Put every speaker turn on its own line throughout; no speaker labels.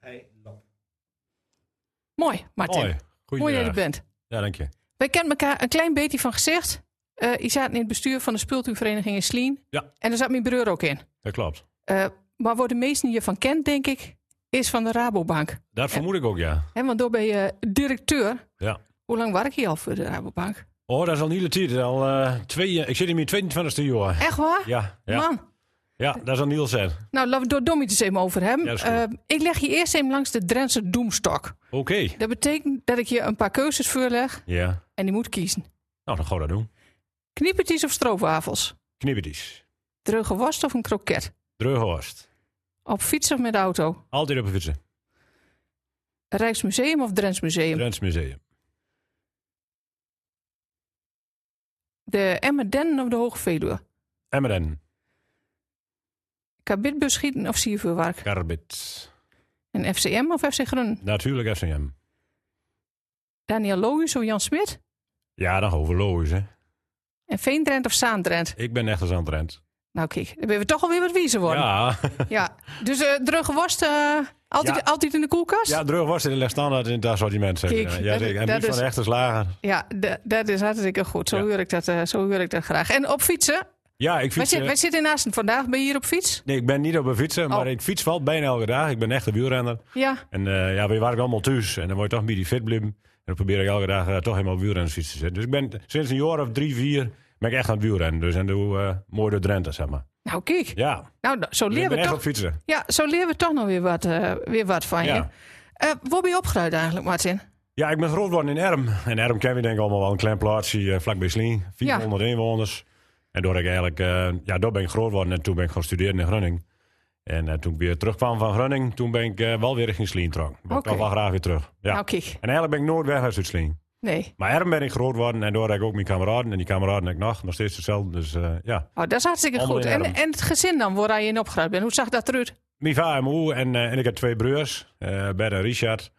Eilab.
Mooi, Martin.
Mooi. eh,
Mooi dat je er
Goedemiddag.
bent.
Ja, dank je.
Wij kennen elkaar een klein beetje van gezicht. Eh je zat in het bestuur van de speeltuinvereniging in Slien.
Ja.
En daar zat mijn broer ook in.
Dat klopt.
Eh, maar waar de meesten je van kent, denk ik, is van de Rabobank.
Dat vermoed ik ook, ja.
Hè, want daar ben je eh, directeur.
Ja.
Hoe lang werk je al voor de Rabobank?
Oh, dat is al niet de tijd. Al, eh, twee, jaar- ik zit in mijn 22e jaar.
Echt waar?
Ja, ja,
Man,
ja, dat is al Niels Oké.
nou laten we door Dommy het eens even over hebben.
Ja, dat is
Eh, ik leg je eerst even langs de Drentse doemstok. Dat betekent dat ik je een paar keuzes voorleg
Ja.
en je moet kiezen.
Nou, dan gaan we dat doen.
Kniepertjes of stroopwafels?
Knippertjes.
Dreuge worst of een kroket?
Dreughorst.
Op fiets of met auto?
Altijd op een fietsen.
Rijksmuseum of Drents Museum?
Drents Museum.
De Emmerden of de Hoge Veluwe?
Emmeren.
Kabitbus schieten of Siervuurwerk?
Karbit.
En FCM of FC Groen?
Natuurlijk FCM.
Daniel Loijs of Jan Smit?
Ja, dan gaan we Loos, hè.
En Veendrent of Zaandrent?
Ik ben echt eens aan het rent.
Nou kijk, dan ben we toch alweer wat wiezer worden. Ja.
Ja,
Dus eh drugge worst eh, altijd,
Ja.
altijd in de koelkast?
ja Dreughorst ligt standaard in dat assortiment. Zeg.
Kijk,
ja,
dat-
zeker. En
dat
niet
is-
van de echte slager.
Ja, d- dat is hartstikke goed. Zo,
Ja.
hoor ik dat, eh, zo hoor ik dat graag. En op fietsen?
Ja, ik
wij,
fiets...
zit,
eh,
wij zitten in Assen vandaag. Ben je hier op fiets?
Nee, ik ben niet op een fietsen, maar
Oh.
ik fiets wel bijna elke dag. Ik ben echt een wielrenner.
Ja.
En eh, ja, we waren allemaal thuis. En dan word je toch een beetje fit blijven. En dan probeer ik elke dag eh, toch helemaal op wielrennersfiets te zetten. Dus ik ben sinds een jaar of drie, vier, ben ik echt aan het wielrennen. Dus en doe eh mooi door Drenthe, zeg maar.
Nou kijk,
Ja,
nou, d- zo
dus ik
leren
ben
we
echt
toch,
op fietsen.
ja, zo leren we toch nog weer wat, eh, weer wat van je.
Ja.
Eh waar ben je opgeruid eigenlijk, Martin?
Ja, ik ben groot geworden in Erm. En Erm kennen we denk ik allemaal wel. Een klein plaatsje eh, vlakbij Slien. 400 inwoners. En door ik eigenlijk, eh, ja, daar ben ik groot geworden. En toen ben ik gaan studeren in Groningen. En eh, toen ik weer terugkwam van Groningen, toen ben ik eh, wel weer in Slien trok. Ik
Oké.
toch wel graag weer terug. Ja.
Nou kijk,
En eigenlijk ben ik nooit weg uit Slien.
nee.
Maar Erm ben ik groot geworden en door heb ik ook mijn kameraden. En die kameraden heb ik nog, nog steeds hetzelfde. Dus eh, ja,
Oh, dat is hartstikke
Allemaal
goed.
in
En,
Arnhem.
en het gezin dan, waar je in opgeruid bent. Hoe zag dat eruit?
mijn vader en mijn moeder en, eh, en ik heb twee broers, eh Bert en Richard.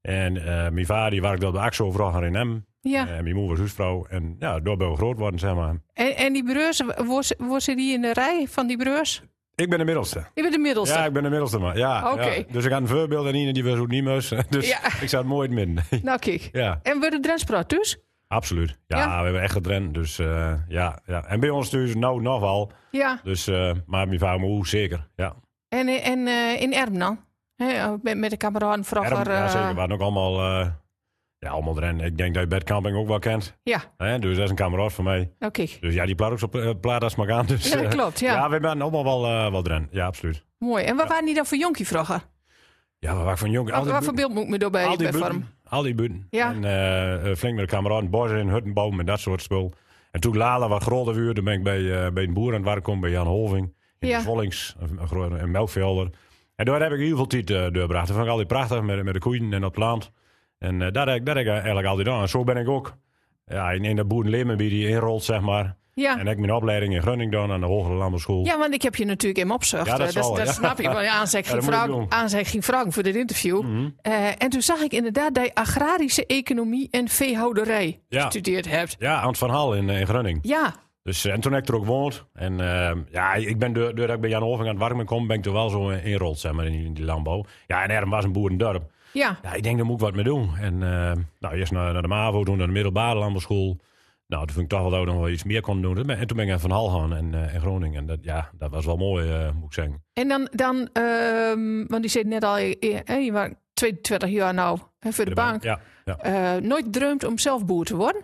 En eh, mijn vader die werkte op de Axo vooral in hem.
Ja.
En mijn moeder was huisvrouw. En ja, door ben ik groot geworden, zeg maar.
En, en die breurs, waar ze- waar zit die in de rij van die breurs?
Ik ben de middelste.
Ik ben de middelste.
Ja, ik ben de middelste maar. Ja,
Oké.
ja. Dus ik had een voorbeeld en Ine die was ook niet meus. Dus
Ja.
ik zat mooi in het midden.
Nou kijk.
ja,
En we de Drenspraat dus?
absoluut. Ja,
Ja.
we hebben echt gedrend. Dus eh, ja, ja. En bij ons dus nou nog wel.
Ja.
Dus, eh, maar mijn vader en moeder zeker. Ja,
En, en eh, in Erm dan? Hè, met, met de kameraden vooral.
Erm,
waar,
ja
eh,
zeker. We hadden ook allemaal, eh, ja, allemaal rennen. Ik denk dat je Bert Camping ook wel kent.
Ja,
Hè? Dus dat is een kameraad van mij.
nou kijk.
Dus ja, die plaat ook zo eh, plaat als maar gaan. Dus,
Ja, dat
eh,
klopt, ja.
we zijn allemaal wel, eh wel dren. Ja, absoluut.
Mooi. En wat waren die dan voor jonkie vroeger?
Ja, maar waar ik van jongen...
Wat, wat voor beeld moet ik me daarbij
al die
bij vormen?
buiten. Al die buiten.
Ja.
En eh, eh, flink met de kameraden, borzen in, hutten bouwen en dat soort spul. En toen Lala wat groter werd, toen ben ik bij, eh, bij een boer aan het werk komen, bij Jan Holving. In
Ja.
de Vollings, een- een grote- een melkvelder. En daar heb ik heel veel tijd eh, doorgebracht. Dat vond ik altijd prachtig, met, met de koeien en dat land. En eh, dat, heb ik- dat heb ik eigenlijk altijd aan. En zo ben ik ook ja, in, in dat boerenleven bij die inrolt, zeg maar.
Ja.
En heb ik mijn opleiding in Groningen gedaan aan de Hogere Landbouwschool.
Ja, want ik heb je natuurlijk in mijn opzucht.
Ja, dat
Eh,
zal,
dat
ja.
snap ik. Want aanzeg ging,
Ja, dat moet ik
vragen,
doen. Mhm.
aanzeg ging vragen voor dit interview. Eh, en toen zag ik inderdaad dat je agrarische economie en veehouderij
Ja.
gestudeerd hebt.
Ja, aan het Van Hal in, eh, in Groningen.
Ja,
Dus, eh, en toen heb ik er ook gewoond. En ehm, ja, ik ben door- doordat ik bij Jan Hoving aan het warmen kom, ben ik er wel zo in rolt, zeg maar, in die, in die landbouw. Ja, en Erm was een boerendorp.
ja.
Ja, ik denk, daar moet ik wat mee doen. En ehm, nou, eerst naar, naar de MAVO, toen naar de middelbare landbouwschool. Nou, toen vond ik toch wel dat ik nog wel iets meer kon doen. En toen ben ik naar Van Hal gaan en, eh, in Groningen. En dat, ja, dat was wel mooi, eh, moet ik zeggen.
En dan, dan ehm, want die zit net al, eh, je was 22 jaar nou hè, voor de, bank.
Ja, ja.
Eh, nooit dreumd om zelf boer te worden?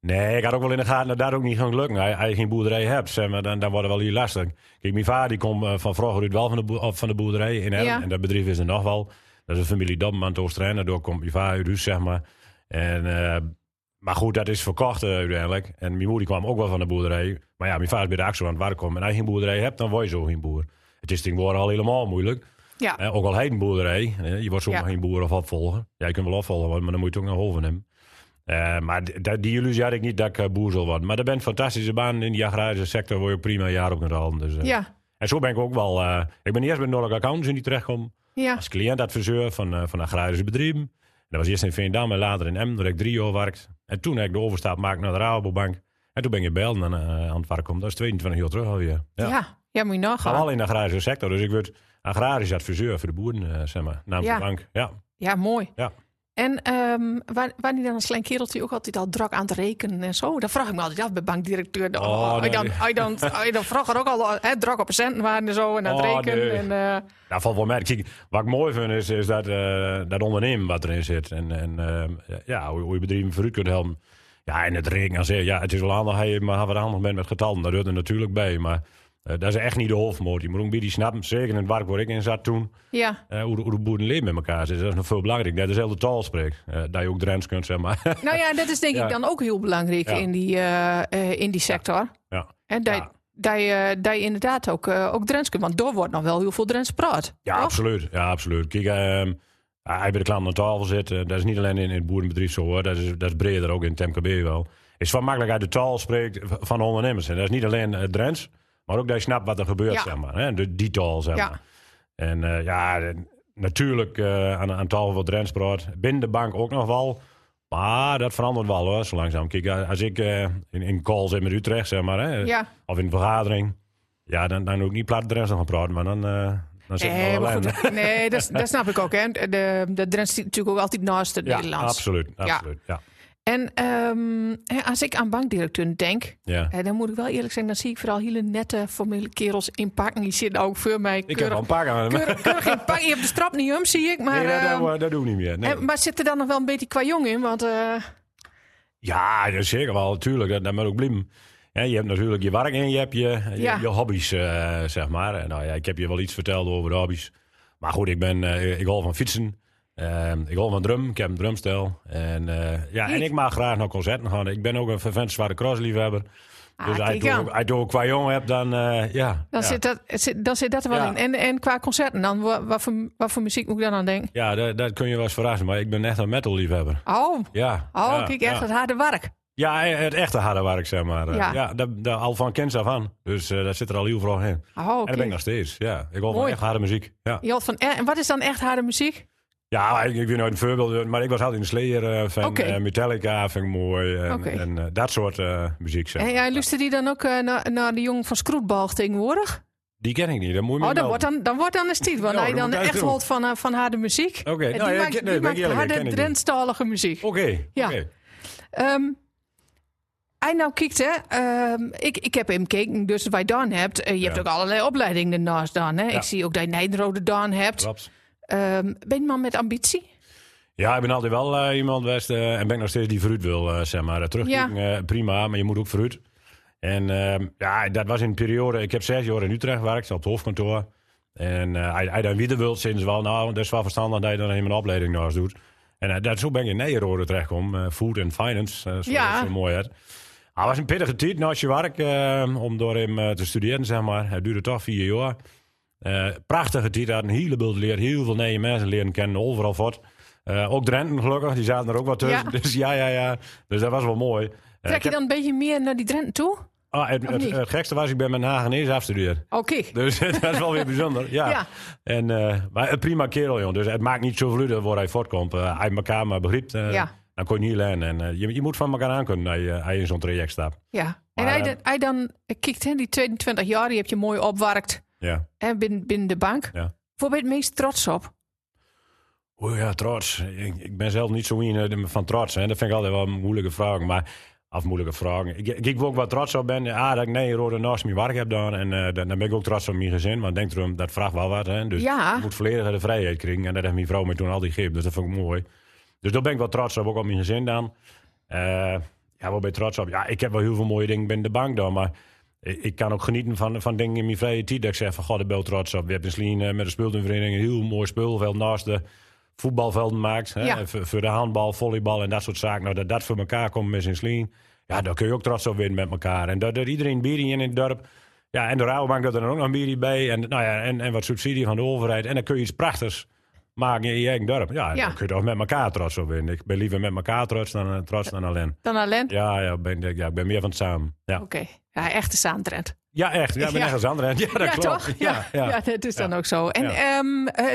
Nee, ik had ook wel in de gaten dat dat ook niet ging lukken. Als je- Als je geen boerderij hebt, zeg maar, dan, dan wordt het wel heel lastig. Kijk, mijn vader die komt eh, van vroeger uit wel van de, boer- of van de boerderij in Erm.
Ja.
En dat bedrijf is er nog wel. Dat is een familie Dobbeman te Oosterijn. Daardoor komt mijn vader uit huis, zeg maar. En, eh, maar goed, dat is verkocht eh, uiteindelijk. En mijn moeder die kwam ook wel van de boerderij. Maar ja, mijn vader is bij de actie aan het werk komen. En als je geen boerderij hebt, dan word je zo geen boer. Het is tegenwoordig al helemaal moeilijk.
Ja.
Eh, ook al heet een boerderij. eh, je wordt zomaar
Ja.
geen boer of opvolger. Ja, je kunt wel opvolger worden, maar dan moet je het ook naar Holven hebben. Eh, maar d- dat- die illusie had ik niet dat ik eh, boer zal worden. Maar dat bent een fantastische baan in die agrarische sector. Waar je prima een jaar op kunt halen. Dus, eh.
Ja,
En zo ben ik ook wel... eh, ik ben eerst bij Nordic Accounts in die terechtkom.
ja.
Als cliëntadviseur van, eh, van agrarische bedrijven. En dat was eerst in Veendam en later in Emmen. Daar heb ik drie jaar gewerkt. En toen heb ik de overstap gemaakt naar de Rabobank. En toen ben ik in Belden eh, aan het werk komen. Dat is 22 jaar terug alweer.
Ja, ja. moet je
Maar
nagaan.
wel in de agrarische sector. Dus ik werd agrarisch adviseur voor de boeren, eh, zeg maar, namens
Ja.
de bank. Ja.
Ja, mooi.
Ja.
En ehm waar, waar die dan als klein kereltje ook altijd al drak aan het rekenen en zo? Dat vraag ik me altijd af bij bankdirecteur. Oh,
Oh,
hij
nee.
dan, hij dan, hij dan vroeg er ook al hè, drak op centen waren en zo en aan het
Oh,
rekenen.
nee.
En, eh,
Nou, valt wel mee. Kijk, wat ik mooi vind is, is dat, eh, dat ondernemen wat erin zit. En, en eh, ja, hoe, hoe je bedrijven vooruit kunt helpen. Ja, en het rekenen aan zich. Ja, het is wel handig dat je maar wat handig bent met getallen. Dat hoort er natuurlijk bij. Maar eh, dat is echt niet de hoofdmoot. Je moet ook een beetje snappen. Zeker in het werk waar ik in zat toen.
ja,
eh, hoe, de, hoe de boerenleven met elkaar zitten. Dat is nog veel belangrijker. Dat je dezelfde taal spreekt. Eh, dat je ook Drents kunt, zeg maar.
nou ja, dat is denk
Ja.
ik dan ook heel belangrijk
Ja.
in, die, eh, eh, in die sector.
ja.
En dat,
Ja.
dat, je, dat je inderdaad ook, eh, ook Drents kunt, want door wordt nog wel heel veel Drents praat.
Ja, absoluut. Ja, absoluut. Kijk, ehm, hij bij de klant aan tafel zit. eh, dat is niet alleen in, in het boerenbedrijf zo hoor. Dat is, dat is breder ook in het MKB wel. Is van makkelijk uit de taal spreekt v- van ondernemers. En dat is niet alleen eh, Drents, maar ook dat je snapt wat er gebeurt,
Ja.
zeg maar. Hè? De, die taal, zeg
Ja.
maar. En eh, ja, en natuurlijk eh, aan, aan tafel wat Drents praat. Binnen de bank ook nog wel. Maar dat verandert wel hoor, zo langzaam. Kijk, eh, als ik eh, in, in call zit met Utrecht, zeg maar. Hè?
Ja.
Of in een vergadering. Ja, dan, dan ook niet plat Drents gaan praten, maar dan... eh, dan zit ik
Nee,
wel
maar
alleen.
goed, nee dat, dat snap ik ook. Hè. De, de Drents zit natuurlijk ook altijd naast het
Ja,
Nederlands.
absoluut. absoluut ja.
En ehm, hè, als ik aan bankdirecteuren denk,
Ja.
hè, dan moet ik wel eerlijk zijn, dan zie ik vooral hele nette formele kerels in pakken. Die zitten ook voor mij
Ik heb al
keurig,
een paar aan.
keurig, keurig in pakken. Je hebt de strap niet om, zie ik. Maar,
nee, dat,
ehm,
dat, dat doe ik niet meer. Nee.
hè, maar zit er dan nog wel een beetje qua jong in? Want eh,
Ja, dat is zeker wel. Natuurlijk, dat, dat moet ook blijven. Ja, je hebt natuurlijk je werk en je hebt je, je,
Ja.
je hobby's, eh, zeg maar. En Nou ja, ik heb je wel iets verteld over de hobby's. Maar goed, ik, ben, eh, ik hou van fietsen. Ehm, ik hou van drum. Ik heb een drumstel. En, eh, ja, en
Kijk.
ik mag graag naar concerten gaan. Ik ben ook een vervent zware crossliefhebber.
Ah,
dus
kijk
als je
aan.
ook- als je ook qua jong hebt, dan eh, ja.
dan,
ja.
zit dat, zit, dan zit dat er wel
Ja.
in. En, en qua concerten dan, wa- wat voor, wat voor muziek moet ik dan aan denken?
Ja, dat, dat kun je wel eens verrassen. Maar ik ben echt een metal liefhebber.
Oh,
Ja.
oh
ja,
kijk, echt
ja.
het harde werk.
Ja, het echte harde werk, zeg maar. Eh,
Ja.
Ja, daar, daar al van kennis af aan. Dus eh, daar zit er al heel veel in. En
Oh,
dat
oké.
ben ik nog steeds, ja. Ik hoor van
Mooi.
echt harde muziek, ja.
Je houdt van, eh, en wat is dan echt harde muziek?
Ja, maar ik, ik weet nooit een voorbeeld, maar ik was altijd een Slayer eh, van
Oké.
eh, Metallica, vind ik mooi. En,
Oké.
en eh, dat soort eh, muziek, zeg
En
maar.
jij luistert die dan ook eh, naar, naar de jongen van Scrootbalg tegenwoordig?
Die ken ik niet, dat moet je me
Oh, dan
melden.
wordt dan, dan wordt dan een stiet. Want
Ja,
hij
dan
dan
moet hij
echt
doen.
holt van, eh, van harde muziek.
Oké,
En die
nou ja, ik-
maakt,
nee,
die
ben ik
maakt
eerlijk, ik ken
harde
het niet.
Drentstalige muziek.
Oké,
Ja.
oké.
Ehm, hij nou kijkt, hè. ehm, ik, ik heb hem gekeken, dus wat je dan hebt. eh, je hebt
Ja.
ook allerlei opleidingen daarnaast dan. Hè.
Ja.
Ik zie ook dat je Nijdenrode dan hebt.
Klopt.
Ehm, ben je een man met ambitie?
Ja, ik ben altijd wel eh, iemand best eh, en ben ik nog steeds die vooruit wil, eh, zeg maar. Terug prima, maar je moet ook vooruit. En ehm, ja, dat was in een periode... Ik heb zes jaar in Utrecht gewerkt, op het hoofdkantoor. En eh, hij hij dan wieder wil sinds wel... Nou, dat is wel verstandig dat je dan helemaal een opleiding naast doet. En eh, dat, zo ben ik in Nijenrode terechtgekomen. eh, food and Finance, eh, zoals
Ja.
het zo mooi heet. Hij was een pittige tijd naast je werk eh, om door hem eh, te studeren, zeg maar. Het duurde toch vier jaar. Eh, prachtige tijd, had een heleboel leer, heel veel nieuwe mensen leren kennen, overal wat. Eh, ook Drenten gelukkig, die zaten er ook wat tussen.
Ja.
Dus ja, ja, ja. Dus dat was wel mooi. Eh,
Trek
ik
je
heb-
dan een beetje meer naar die Drenthe toe?
Ah, het, het,
niet?
het gekste was, ik ben met Hagenees afgestudeerd.
Oké.
Dus dat is wel weer bijzonder. Ja.
Ja.
En, eh, maar een prima kerel, joh. Dus het maakt niet zoveel uit waar hij voortkomt. Eh, hij elkaar maar begrijpt, eh,
Ja.
dan kon je niet leren. En eh, je, je moet van elkaar aankunnen als je, als je in zo'n traject staat.
Ja. En
Maar,
hij,
eh,
dan- hij dan eh, kijkt, hè, die 22 jaar, die heb je mooi opwarkt
Ja.
hè, binnen, binnen de bank.
Ja.
Waar ben je het meest trots op?
Oeh ja, trots. Ik, ik ben zelf niet zo in eh, van trots. Hè. Dat vind ik altijd wel een moeilijke vraag. Maar, of moeilijke vragen. Ik, ik, ik wil ook wel trots op ben. Ah, dat ik nee, rode naast mijn werk heb dan. En eh, dan, dan ben ik ook trots op mijn gezin. Want denk erom, dat vraagt wel wat. Hè. Dus
Ja.
ik moet volledig de vrijheid krijgen. En dat heeft mijn vrouw me toen al die gegeven. Dus dat vond ik mooi. Dus daar ben ik wel trots op. Ook op mijn gezin dan. Eh, ja, waar ben je trots op? Ja, ik heb wel heel veel mooie dingen binnen de bank dan. Maar ik, ik kan ook genieten van, van dingen in mijn vrije tijd. Dat ik zeg van, god, daar ben ik trots op. We hebben misschien eh, met de speeltuinvereniging een heel mooi speelveld naast de voetbalvelden maakt. Hè?
Ja.
En Voor, voor de handbal, volleybal en dat soort zaken. Nou, dat dat voor elkaar komt met zijn sleen. Ja, daar kun je ook trots op winnen met elkaar. En dat, dat iedereen bier in het dorp. Ja, en de Rabobank dat er dan ook nog een bier bij. En, nou ja, en, en wat subsidie van de overheid. En dan kun je iets prachtigs maken in je eigen dorp. Ja, en
Ja.
dan kun je toch met elkaar trots op winnen. Ik ben liever met elkaar trots dan, eh, trots dan alleen.
Dan alleen?
Ja, ja, ben, ja, ik ben meer van het samen. Ja,
Oké. Ja, echt de Zaandrent.
ja echt. Ja, ik ben
Ja.
echt als anderen. Ja, dat
ja,
klopt.
toch? Ja, ja. dat is dan
Ja.
ook zo. En
Ja.
ehm, eh,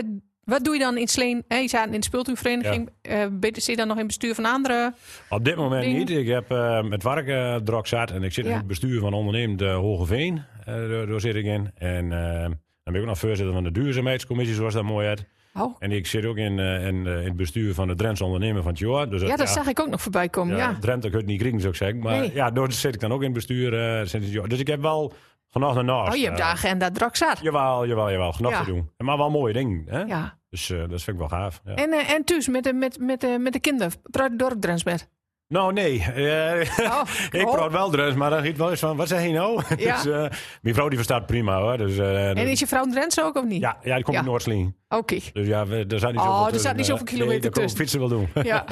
wat doe je dan in Sleen? Hey, je staat in de speeltuinvereniging. Eh, ben- zit je dan nog in bestuur van andere?
Op dit moment
Ding.
niet. Ik heb eh, met werk eh, drok zat en ik zit
Ja.
in het bestuur van ondernemend eh, Hogeveen. Eh, daar, daar zit ik in. En eh, ben ik ook nog voorzitter van de duurzaamheidscommissie, zoals dat mooi heet.
Oh.
En ik zit ook in, eh, in, eh, in het bestuur van de Drentse ondernemer van het jaar. Dus
Ja, dat zag ik ook nog voorbij komen. Ja,
Drenthe kun je het niet kriegen, zou ik zeggen. Maar
Nee.
ja, daar zit ik dan ook in het bestuur. eh, sinds het jaar. Dus ik heb wel genoeg ernaast.
Oh, je hebt de
eh,
agenda druk zat.
Jawel, jawel, jawel. Genoeg
Ja.
te doen. Maar wel mooie dingen. Hè?
Ja.
Dus eh, dat vind ik wel gaaf. Ja.
En, eh, en thuis met de, met, met, de, met de kinderen. Praat het dorp Drents met.
Nou, nee. Eh,
Oh,
ik
oh.
praat wel Drents, maar dan giet wel eens van, wat zeg je nou?
Ja.
dus, eh, mijn vrouw die verstaat prima hoor. Dus, eh,
En is je vrouw Drents ook of niet?
ja, ja, die komt
Ja.
uit Noordsling.
Oké.
Dus ja, we, er zijn niet
Oh,
zoveel
er
tussen,
staat niet
eh,
zoveel kilometer
nee,
tussen.
fietsen wel doen.
Ja.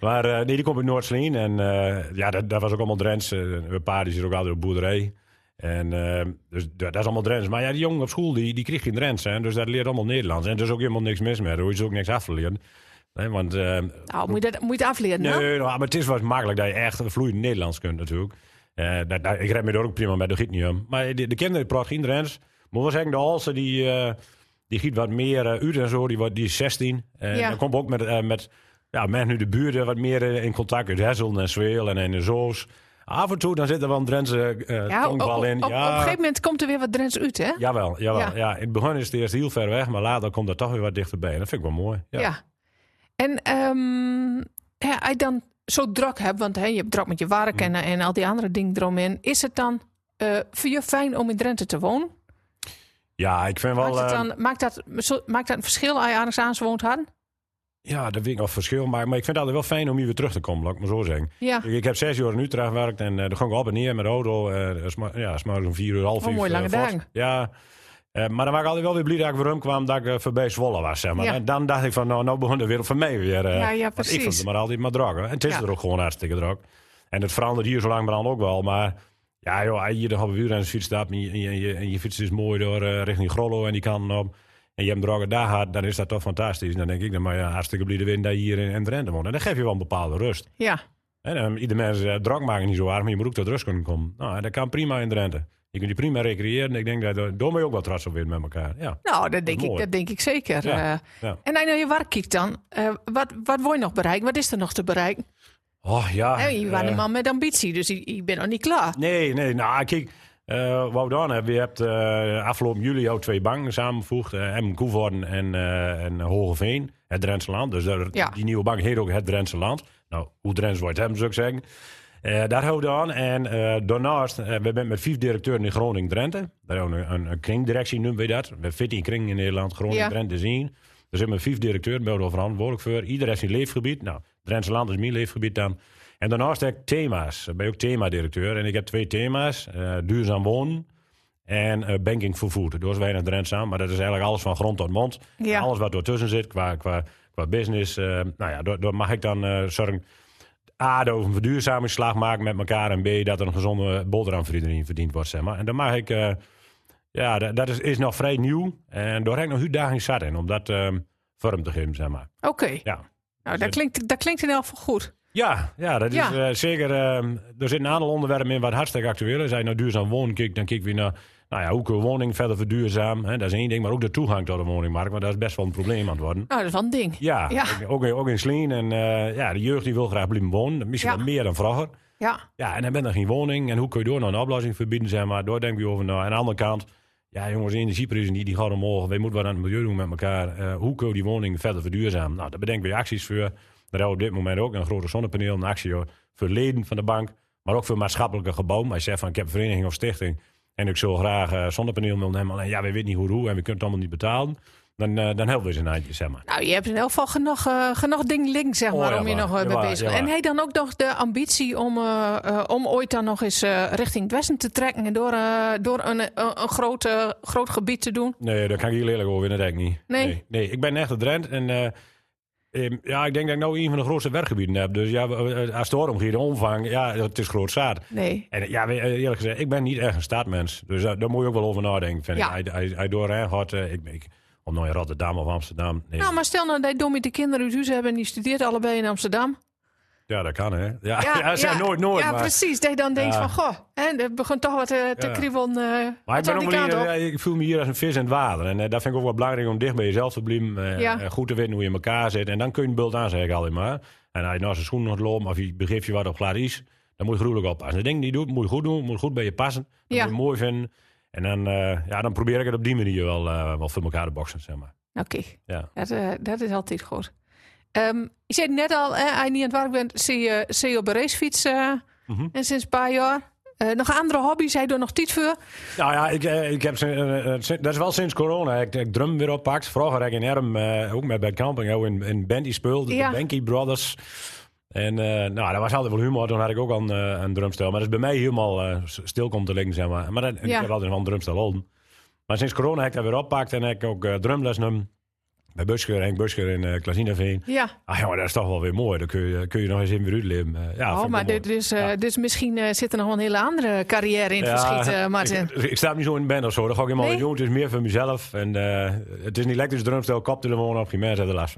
maar eh, nee, die komt uit Noordsleen. En eh, ja, dat, dat was ook allemaal Drents. Eh, Mijn pa die zit ook altijd op boerderij. En eh, dus dat, dat is allemaal Drents. Maar ja, die jongen op school, die, die kreeg geen Drents. Hè, dus dat leert allemaal Nederlands. En er is ook helemaal niks mis mee. Er is ook niks af te leren. Nee, want eh,
Nou, moet je, dat, moet je het afleren, hè?
Nee, nou, maar het is wel makkelijk dat je echt vloeiend Nederlands kunt natuurlijk. Eh, dat, dat- ik red me daar ook prima met, dat giet niet om. Maar de, de kinderen praten geen Drents. Maar wel zeggen, de Halsen die, eh, die giet wat meer eh uur en zo, die, wordt- die is 16. En
Ja.
dan komt ook met, eh, met ja, met nu de buren wat meer eh, in contact uit Hessel en Zweel en in de Zoos. Af en toe dan zit er wel een Drentse eh
Ja, op, op,
tongval
op,
in.
op een gegeven moment komt er weer wat Drents uit, hè?
Jawel, jawel.
Ja.
Ja. in het begin is het eerst heel ver weg, maar later komt dat toch weer wat dichterbij. En dat vind ik wel mooi.
Ja. En ehm ja, als je dan zo druk hebt, want hè, je hebt druk met je werk en,
Mm.
eh, en al die andere dingen eromheen. Is het dan eh, voor je fijn om in Drenthe te wonen?
Ja, ik vind wel...
maakt, het
eh,
dan, maakt, dat, zo- maakt dat een verschil als je ergens aan woont had?
Ja, dat weet ik nog verschil. Maar, maar ik vind het altijd wel fijn om hier weer terug te komen, laat ik maar zo zeggen.
Ja,
Ik, ik heb zes uur in Utrecht gewerkt en eh daar ging ik op en neer met de auto. eh, s ma- ja, s'morgens om vier uur, half
Oh,
uur.
mooi,
eh,
lange
vast.
dag.
Ja, Eh, maar dan was ik altijd wel weer blij dat ik weer rumkwam dat ik eh, voorbij Zwolle was, zeg maar.
Ja.
En dan dacht ik van, nou, nou begon de wereld van mij weer. eh,
Ja, ja,
want ik vond
precies.
het maar altijd maar druk. hè. En het is
Ja.
er ook gewoon hartstikke druk. En het verandert hier zo lang ook wel, maar... Ja, joh, als je de halve uur aan de fiets stapt en je, en je, en je fiets is mooi door eh, richting Grollo en die kan op. En je hebt een droge dag gehad, dan is dat toch fantastisch. En dan denk ik, dan maar ja, hartstikke blij de wind dat je hier in, in Drenthe woont. En dan geef je wel een bepaalde rust.
ja.
En, ehm, ieder mens eh, drank maken niet zo hard, maar je moet ook tot rust kunnen komen. Nou, en dat kan prima in Drenthe. Je kunt je prima recreëren. Ik denk dat daar ben je ook wel trots op weer met elkaar. Ja.
Nou, dat denk,
is
ik,
mooi.
dat denk ik zeker.
Ja,
eh.
ja.
En als je naar je werk kijkt dan, eh, wat, wat wil je nog bereiken? Wat is er nog te bereiken?
Oh ja.
Hè, je bent
eh,
een man met ambitie, dus je, je bent nog niet klaar.
Nee, nee. Nou, kijk. eh wat we dan hebben, je hebt eh, afgelopen juli ook twee banken samengevoegd. eh M. Koevoorn en, eh en Hogeveen, het Drentse Land. Dus daar,
Ja.
die nieuwe bank heet ook het Drentse Land. Nou, hoe Drents wordt hebben, zou ik zeggen. Eh, daar houden we aan. En eh, daarnaast, eh, we zijn met vijf directeuren in Groningen-Drenthe. Daar hebben we een, een, een kringdirectie, noemen we dat. We hebben 14 kringen in Nederland, Groningen-Drenthe zien. Er zitten met vijf directeuren, ben ik wel verantwoordelijk voor. Ieder heeft zijn leefgebied. Nou, Drentse Land is mijn leefgebied dan. En daarnaast heb ik thema's. Daar ben ik ook themadirecteur. En ik heb twee thema's. eh, duurzaam wonen en eh, banking vervoer. Dat is weinig Drenthe aan, maar dat is eigenlijk alles van grond tot mond.
Ja.
En Alles wat ertussen zit qua, qua, qua business. eh, nou ja, daar daar mag ik dan eh zorgen A, dat we een verduurzamingsslag maken met elkaar. En B, dat er een gezonde boterham verdiend wordt, zeg maar. En dan mag ik... eh, ja, dat, dat is, is nog vrij nieuw. En daar heb ik nog uitdaging zat in, om dat ehm, vorm te geven, zeg maar.
Oké,
Ja,
nou, dat
het-
klinkt, dat klinkt in elk geval goed.
ja, ja dat
Ja.
is eh, zeker... ehm, er zit een aantal onderwerpen in wat hartstikke actueel is. Als je naar duurzaam wonen kijkt, dan kijk je naar... Nou ja, hoe kunnen we woning verder verduurzamen? Hè, dat is één ding, maar ook de toegang tot de woningmarkt. Want dat is best wel een probleem aan het worden.
Nou, dat is wel een ding.
Ja,
Ja.
Ook, ook in Sleen. En eh, ja, de jeugd die wil graag blijven wonen. Misschien
Ja.
wel meer dan vroeger.
Ja,
Ja, en dan ben er geen woning. En hoe kun je door nou een oplossing verbieden, zeg maar. Door denk je over, nou, aan de andere kant... Ja, jongens, de energieprijzen die, die gaan omhoog. We moeten wat aan het milieu doen met elkaar. Eh, hoe kun je die woning verder verduurzamen? Nou, daar bedenken we acties voor. Daar hebben we op dit moment ook een grote zonnepaneel. Een actie hoor, voor leden van de bank. Maar ook voor maatschappelijke gebouwen. Als je zegt van, ik heb een vereniging of stichting... en ik zou graag eh zonnepaneel willen nemen... alleen ja, we weten niet hoe, hoe en we kunnen het allemaal niet betalen... dan, eh, dan helpen we ze een eindje, zeg maar.
nou, je hebt in elk geval genoeg, eh, genoeg ding links, zeg
Oh,
maar,
ja,
om je
waar.
nog eh, mee
Ja, waar,
bezig
ja,
En
waar.
hij dan ook nog de ambitie om, eh, eh, om ooit dan nog eens eh, richting het westen te trekken en door, eh, door een, eh, een groot, eh, groot gebied te doen.
Nee, daar kan ik heel eerlijk over winnen, dat denk ik niet.
Nee?
nee. nee, ik ben echt een Drent en... eh, ehm, ja, ik denk dat ik nou een van de grootste werkgebieden heb. Dus ja, we- eh, als het erom gaat, de omvang, ja, het is groot zaad.
Nee.
En eh, ja, we- eh, eerlijk gezegd, ik ben niet echt een staatmens. Dus daar, daar moet je ook wel over nadenken, vind
Ja.
ik. Hij- Hij hij door hè, gaat, eh, ik, ik, om nou in Rotterdam of Amsterdam. Nee,
Nou, maar stel nou dat Dommy de kinderen uit huis hebben en die studeert allebei in Amsterdam.
ja, dat kan hè. Ja, ja, ze zijn nooit, nooit.
Ja,
maar,
precies. Dat je dan denkt
Ja.
van, goh, hè, er begint toch wat eh, te
Ja.
kriebelen. eh,
Maar ik,
wat
ben
aan
ook
die
wel
kant
hier,
op.
ja, ik voel me hier als een vis in het water. En eh, dat vind ik ook wel belangrijk om dicht bij jezelf te blijven. eh,
Ja.
en goed te weten hoe je in elkaar zit. En dan kun je een bult aan, zeg ik altijd maar. En als je nou zijn schoenen gaat lopen of je begeeft je wat op glad is... dan moet je gruwelijk oppassen. De dingen die je doet, moet je goed doen. Moet goed bij je passen. Dat
Ja.
moet je mooi vinden. En dan, eh, ja, dan probeer ik het op die manier wel, eh, wel voor elkaar te boksen, zeg maar.
Oké,
Ja.
Nou, dat, eh, dat is altijd goed. Ehm, je zei net al, hè, als je niet aan het werk bent, zie je, zie je op een racefiets. eh,
Mhm.
En sinds een paar jaar. Eh, nog andere hobby's, hij doet nog tijd voor.
Nou ja, ik, eh, ik heb, sin- eh, eh, sin- dat is wel sinds corona. Ik, ik drum weer oppakt. Vroeger heb ik in Erm, eh, ook met Bad Camping, ook in, in Bandy speelde.
Ja.
De Banky Brothers. En eh, nou, dat was altijd wel humor. Toen had ik ook al een, eh, een drumstel. Maar dat is bij mij helemaal eh, s- stil komt te liggen, zeg maar. Maar dat, ik
Ja.
heb altijd wel een drumstel om. Maar sinds corona heb ik dat weer oppakt. En heb ik ook eh, drumles genomen. Bij Busker, Henk Busker in eh Klazinaveen.
Ja,
Ah jongen, dat is toch wel weer mooi. Dan kun je, kun je nog eens in weer uitleven. Eh, ja, vind
oh,
ik
maar
wel mooi.
dit is, eh,
Ja.
dus misschien eh, zit er nog wel een hele andere carrière in het
Ja,
verschiet, eh, Martin.
Ik, ik sta niet zo in de band of zo. Dat ga ik helemaal
Nee?
niet doen. Het is meer voor mezelf. En eh, het is een elektrisch drumstel, koptelefoon op. Geen mensen hebben er last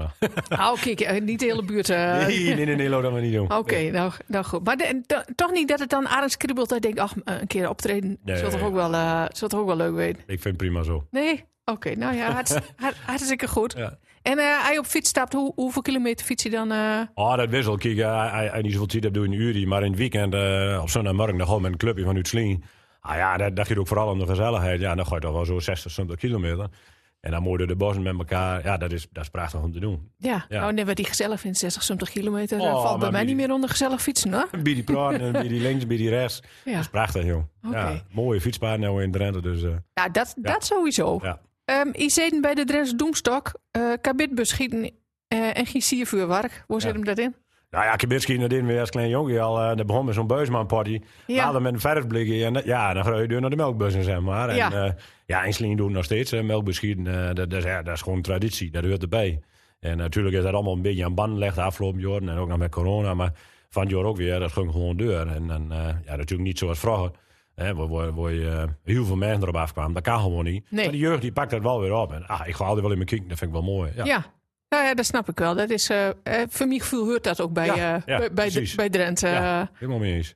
van.
Oh, kijk, eh, niet de hele buurt. eh.
nee, nee, nee, nee, laat dat maar niet doen.
Oké, nou, nou goed. Maar de- to- toch niet dat het dan aardig kriebelt dat je denkt, ach, eh, een keer optreden
Nee.
zult toch ook wel, eh, zult toch ook wel leuk weten.
Ik vind het prima zo.
Nee? Oké, nou ja, hartst- hart- hartstikke goed.
Ja.
En eh, als je op fiets stapt, hoe, hoeveel kilometer fiets je dan? eh?
Ah, dat wisselt. Kijk, eh, hij- hij niet zoveel tijd hebt, doe je een uur. Maar in het weekend, eh, op zondagmorgen, dan gewoon met een clubje van Uitsleen. Ah ja, dat, dat gaat ook vooral om de gezelligheid. Ja, dan ga je toch wel zo 60, 70 kilometer. En dan moorden de bossen met elkaar. Ja, dat is, dat is prachtig om te doen.
ja,
Ja.
nou, net wat die gezellig vindt, 60, 70 kilometer, eh,
Oh,
valt bij
maar
mij
wie-
niet meer onder gezellig fietsen, hoor.
Bij die praten, en bij die links, bij die rechts.
Ja.
Dat is prachtig, joh.
Oké.
Ja, mooie fietspaar nou in Drenthe. Dus, eh,
Ja, dat, dat sowieso.
Ja.
Ehm je zit bij de Drentse Doemstok, eh kabitbus schieten eh, en geen siervuurwerk. Hoe zit
Ja.
hem dat in?
Nou ja, Kibitski, dat deden we als klein jongen al. eh dat begon met zo'n buismanparty.
Ja.
Later met een verfblikje. En dat- ja, dan ga je door naar de melkbussen, zeg maar.
Ja.
En, eh, ja, in Slien doen we nog steeds. hè. Melkbeschieden, eh, dat, dat, is, ja, dat is gewoon traditie. Dat hoort erbij. En natuurlijk is dat allemaal een beetje aan band gelegd de afgelopen jaren. En ook nog met corona. Maar van het jaar ook weer, dat ging gewoon deur. En dan, eh, ja, natuurlijk niet zoals vroeger. Hè, waar, waar, waar je, eh, heel veel mensen erop afkwamen. Dat kan gewoon niet.
Nee.
Maar de jeugd die pakt dat wel weer op. En ah, ik ga altijd wel in mijn kink. Dat vind ik wel mooi. Ja.
Ja. Nou ja, dat snap ik wel. Dat is, eh, eh, voor mijn gevoel hoort dat ook bij,
Ja,
eh,
ja,
bij, bij,
precies.
bij Drenthe. eh,
Ja,
Ja.
helemaal mee eens.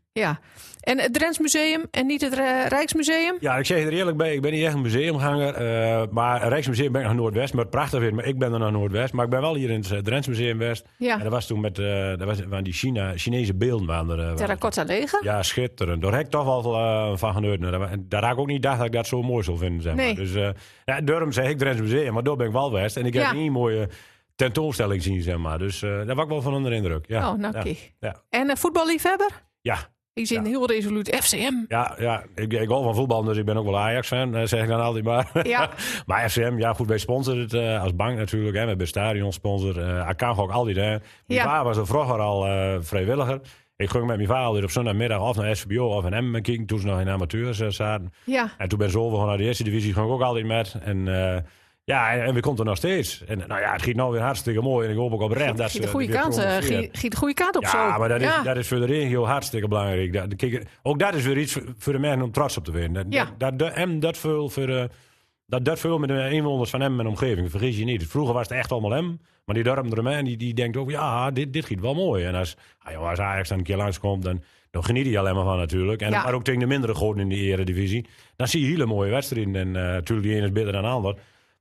En het Drents Museum en niet het eh, Rijksmuseum?
Ja, ik zeg je er eerlijk bij, ik ben niet echt een museumganger. eh, maar een Rijksmuseum ben ik naar Noordwest, maar het prachtig vindt. Maar ik ben er naar Noordwest. Maar ik ben wel hier in het eh, Drents Museum West.
Ja.
En dat was toen met eh, dat was, waren die China, Chinese beelden. Waren er, eh, waren er.
Terracotta Leger?
Ja, schitterend. Daar heb ik toch wel eh, van genoten. Daar- Daar had ik ook niet dacht dat ik dat zo mooi zou vinden. Zeg maar.
Nee.
Dus eh ja, daarom zeg ik Drents Museum, maar daar ben ik wel West. En ik
Ja.
heb een mooie tentoonstelling zien, zeg maar. Dus eh, daar was ik wel van onder de indruk. Ja.
Oh, nou
ja.
kijk.
Ja.
En eh, voetballiefhebber?
ja,
Ik zie
Ja.
heel resoluut FCM.
Ja, ja ik, ik hou van voetbal, dus ik ben ook wel Ajax-fan, eh, zeg ik dan altijd maar.
Ja.
maar FCM, ja goed, wij sponsoren het eh, als bank natuurlijk. Hè. We hebben een stadionsponsor, eh Akango ook altijd. Hè. Mijn
Ja.
vader was er vroeger al eh, vrijwilliger. Ik ging met mijn vader altijd op zondagmiddag of naar SVBO of naar Emmen kijken, toen ze nog in amateurs eh, zaten.
Ja.
En toen ben ik zo gewoon naar de eerste divisie, ging ik ook altijd met. En eh, ja, en, en we komt er nog steeds. En nou ja, het giet nou weer hartstikke mooi en ik hoop ook oprecht dat ze...
Giet de goede
weer
kant, eh,
promoveert.
giet, giet de goede kant op zo.
Ja, maar dat is,
Ja.
dat is voor de regio hartstikke belangrijk. Dat, kijk, ook dat is weer iets voor, voor de mensen om trots op te winnen. Dat,
Ja.
dat, dat, en dat veel voor, eh, dat, dat veel met de inwoners van hem en omgeving. Vergis je niet. Vroeger was het echt allemaal hem. Maar die dorp eromheen, die, die denkt ook, ja, dit, dit giet wel mooi. En als, ah, joh, als Ajax dan een keer langskomt, dan, dan geniet hij alleen maar van natuurlijk. En,
Ja.
Maar ook tegen de mindere goden in de eredivisie. Dan zie je hele mooie wedstrijden. En eh, natuurlijk, die ene is beter dan de ander.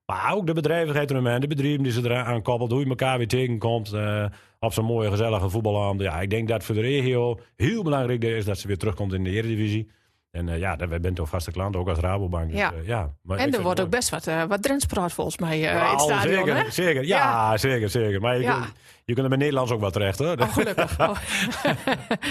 Maar ook de bedrijvigheid eromheen, de bedrijven die ze eraan koppelt, hoe je elkaar weer tegenkomt eh, op zo'n mooie gezellige voetballand. Ja, ik denk dat voor de regio heel belangrijk is dat ze weer terugkomt in de Eredivisie. En eh, ja, dat- wij bent toch vaste klant, ook als Rabobank. Dus,
Ja.
eh, ja. Maar
en
ik vind
er
het
wordt ook
mooi.
best wat, eh, wat Drents praat volgens mij eh,
Ja,
in het
al
stadion.
zeker,
hè?
zeker. Ja, zeker, zeker. Maar je,
Ja.
Kunt, je kunt er bij Nederlands ook wel terecht, hoor.
Oh, gelukkig. Oh.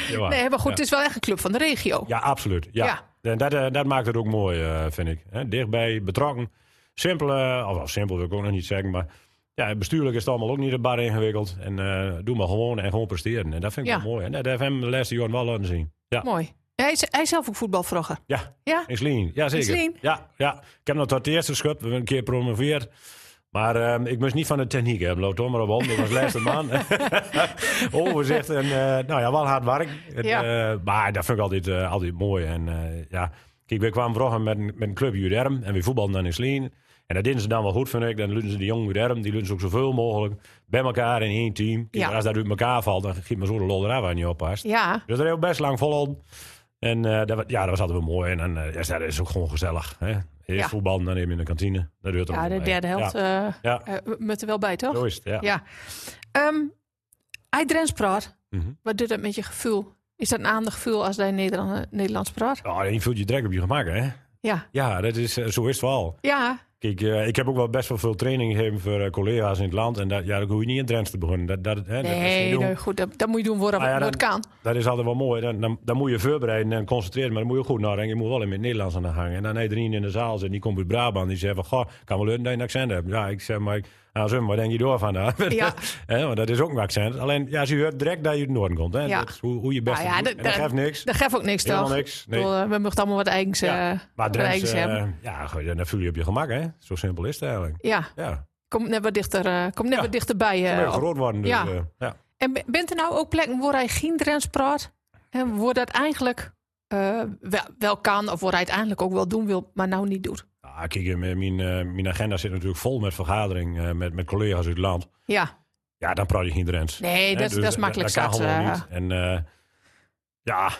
Ja.
Nee, maar goed,
Ja.
het is wel echt een club van de regio.
Ja, absoluut. Ja. En dat, eh, dat maakt het ook mooi, eh, vind ik. Hè, dichtbij, betrokken. Simpel, eh, of, of simpel wil ik ook nog niet zeggen, maar ja, bestuurlijk is het allemaal ook niet de bar ingewikkeld. En eh, doe maar gewoon en gewoon presteren. En dat vind ik
Ja.
wel mooi. En dat heeft hem de laatste jaren wel laten zien. Ja,
Mooi. Hij is, hij is zelf ook voetbalvlogger.
ja.
Ja?
is lean. Ja, zeker.
Is lean.
Ja, ja. Ik heb nog tot de eerste schub, we hebben een keer promoveerd. Maar ehm, ik moest niet van de techniek hebben, loopt toch maar op om. Ik was laatste man. Overzicht en eh, nou ja, wel hard werk. En,
Ja.
eh, maar dat vind ik altijd, eh, altijd mooi. En eh, ja, kijk, we kwamen vroeger met, een- met een club Juderm en we voetbalden dan in Sleen. En dat deden ze dan wel goed, vind ik. Dan lutten ze de jongen Juderm, die lutten ze ook zoveel mogelijk bij elkaar in één team. Kijk,
Ja.
Als dat uit elkaar valt, dan giet me zo de lol eraf aan je oppast.
Ja,
Dus dat heel best lang volhouden. En eh, dat, wa- ja, dat was altijd wel mooi. En, dan, eh, ja, dat is ook gewoon gezellig. Hè? Eerst
Ja.
voetbal, dan neem je in de kantine. Dat duurt er
ja
ook
de
wel
derde
mee.
helft
Ja,
eh
ja.
eh, met er wel bij, toch?
zo is het. Ja.
Ja. Ehm, hij Drents praat.
Mhm.
Wat doet dat met je gevoel? Is dat een ander gevoel als hij Nederland, Nederlands praat?
Oh, en je voelt je direct op je gemak, hè?
Ja,
Ja, dat is, eh, zo is het wel.
ja.
Kijk, eh, ik heb ook wel best wel veel training gegeven voor eh, collega's in het land. En dat, ja, dan hoef je niet in Drenthe te beginnen. Dat, dat, hè, dat, is niet
Nee,
doen.
nee, goed, dat, dat moet je doen voordat
Ah, ja,
het
dan-
kan.
dat is altijd wel mooi. Dan, dan, dan moet je voorbereiden en concentreren. Maar dan moet je goed nadenken. Je moet wel in het Nederlands aan de hangen. En dan iedereen in de zaal zit. Die komt uit Brabant. Die zegt van, goh, kan wel leuk dat je een accent hebt. Ja, ik zeg maar, ik- nou, zeg maar, wat denk je door vandaag?
Ja.
Hè, want dat is ook een accent. Alleen, ja, ze hoort direct dat je uit het noorden komt. Hè?
Ja.
Dat is hoe, hoe je best
Nou ja,
doet.
dat-
En dat
dat-
geeft niks.
Dat geeft ook niks,
Helemaal
toch?
niks. Nee.
Ik bedoel, eh, we mogen allemaal wat eigens,
Ja,
eh,
Maar
wat eigens
Drenthe,
hebben.
eh, ja, goh, dan voel je je op je gemak, hè? Zo simpel is het eigenlijk.
Ja,
Ja,
kom net wat, dichter, eh, kom net
Ja.
wat dichterbij. eh,
Maar
op.
groot worden. Dus,
ja.
eh, ja.
En be- bent er nou ook plekken waar hij geen Drents praat? En waar dat eigenlijk eh, wel, wel kan, of waar hij uiteindelijk ook wel doen wil, maar nou niet doet?
Nou, kijk, eh, mijn, mijn, eh, mijn agenda zit natuurlijk vol met vergaderingen eh, met, met collega's uit het land.
Ja,
Ja, dan praat je geen Drents.
nee, dat,
Hè, dus
dat is makkelijk
Dat kan
zat,
gewoon
eh,
niet. En eh, ja,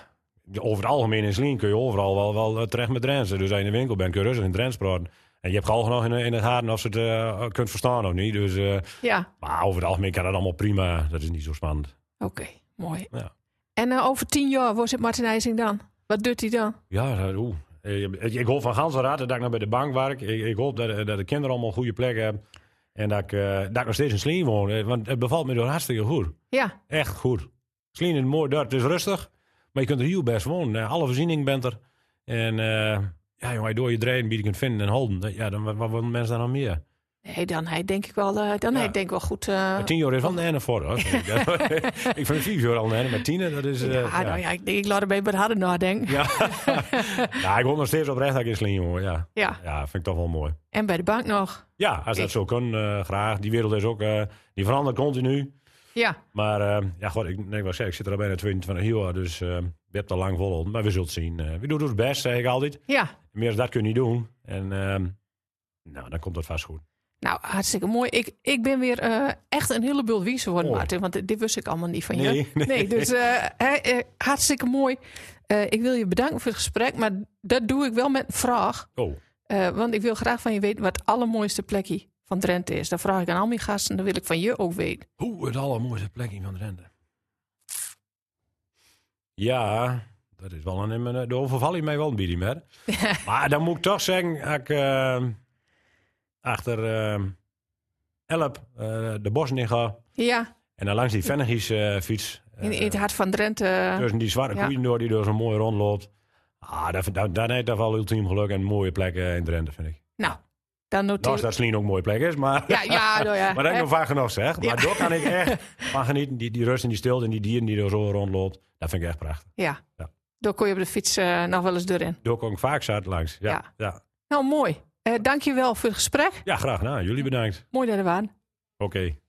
over het algemeen in Slien kun je overal wel, wel eh, terecht met Drents. Dus als je in de winkel bent, kun je rustig in Drents praten. En je hebt gewoon nog in, in de gaten of ze het eh, kunt verstaan of niet. Dus, eh,
Ja,
maar over het algemeen kan dat allemaal prima. Dat is niet zo spannend.
oké, mooi.
Ja.
En eh, over tien jaar, waar zit Martin IJsing dan? Wat doet hij dan?
Ja, dat- oeh. Eh, Ik, ik hoop van ganse raad dat ik nog bij de bank werk. Ik, ik hoop dat, eh, dat de kinderen allemaal een goede plek hebben. En dat ik, eh, dat ik nog steeds in Sleen woon. Eh, Want het bevalt me door hartstikke goed.
Ja,
Echt goed. Sleen is een mooi dorp. Het is rustig. Maar je kunt er heel best wonen. Eh, Alle voorziening bent er. En eh, ja, jongen, door je drein die je kunt vinden en holden. dat- Ja, dan, wat, wat willen mensen dan nog meer?
Ah. nee, dan hij denk ik wel, eh, dan
Ja.
hij denk ik wel goed. eh,
Maar tien jaar is wel een ene voor. Hoor. vind ik. ik vind vier jaar al een ene. Maar tien, dat is... eh,
ja, nou ja, ik, denk, ik laat hem even wat harder nadenken.
Ja. Ja, ik woon nog steeds oprecht dat ik in Sleen woon. Ja.
Ja,
ja, vind ik toch wel mooi.
en bij de bank nog.
Ja, als dat
Ik-
zo kan, eh, graag. Die wereld is ook, eh, die verandert continu.
Ja,
Maar eh, ja, god, ik, nee, ik, wou zeggen, ik zit er al bijna 22 jaar, dus eh je hebt al lang volgehouden. Maar we zullen het zien. Eh, we doen het best, zeg ik altijd.
ja.
Meer dan dat kun je niet doen. En ehm, nou, dan komt dat vast goed.
Nou, hartstikke mooi. Ik, ik ben weer eh, echt een heleboel wiezer geworden,
Mooi.
Maarten. Want dit- dit wist ik allemaal niet van je.
Oh. Nee, nee.
dus eh, hè, eh, hartstikke mooi. Eh, ik wil je bedanken voor het gesprek. Maar dat doe ik wel met een vraag.
Oh,
Eh, want ik wil graag van je weten wat het allermooiste plekje van Drenthe is. Dat vraag ik aan al mijn gasten. Dat wil ik van je ook weten.
hoe het allermooiste plekje van Drenthe. Ja, dat is wel een... een- De overval je mij wel een beetje meer. maar dan moet ik toch zeggen, dat ik eh, achter ehm Elp eh, de bos in ga...
Ja,
En dan langs die Vennegies eh, fiets. eh, Dus.
in, in het hart van Drenthe. eh,
tussen die zwarte
ja.
koeien door die door zo'n mooi rondloopt. Ah, dat, dat, dat heeft dat wel ultiem geluk en een mooie plek eh, in Drenthe, vind ik.
Nou, dan
Nou, is
noteer
dat Slien ook een mooie plek is, maar...
Ja, ja, nou ja.
maar dat
hè.
heb ik nog vaak genoeg, zeg. Maar
Ja.
daar kan ik echt van genieten. Die, die rust en die stilte en die dieren die er zo rondloopt. Dat vind ik echt prachtig.
Ja.
Ja.
Daar kon je op de fiets eh, nog wel eens doorheen.
Daar kom ik vaak zat langs. Ja,
Ja.
ja. ja.
Nou, mooi. Eh Dank je wel voor het gesprek.
graag gedaan. Jullie bedankt.
Mooi dat er waren.
Oké.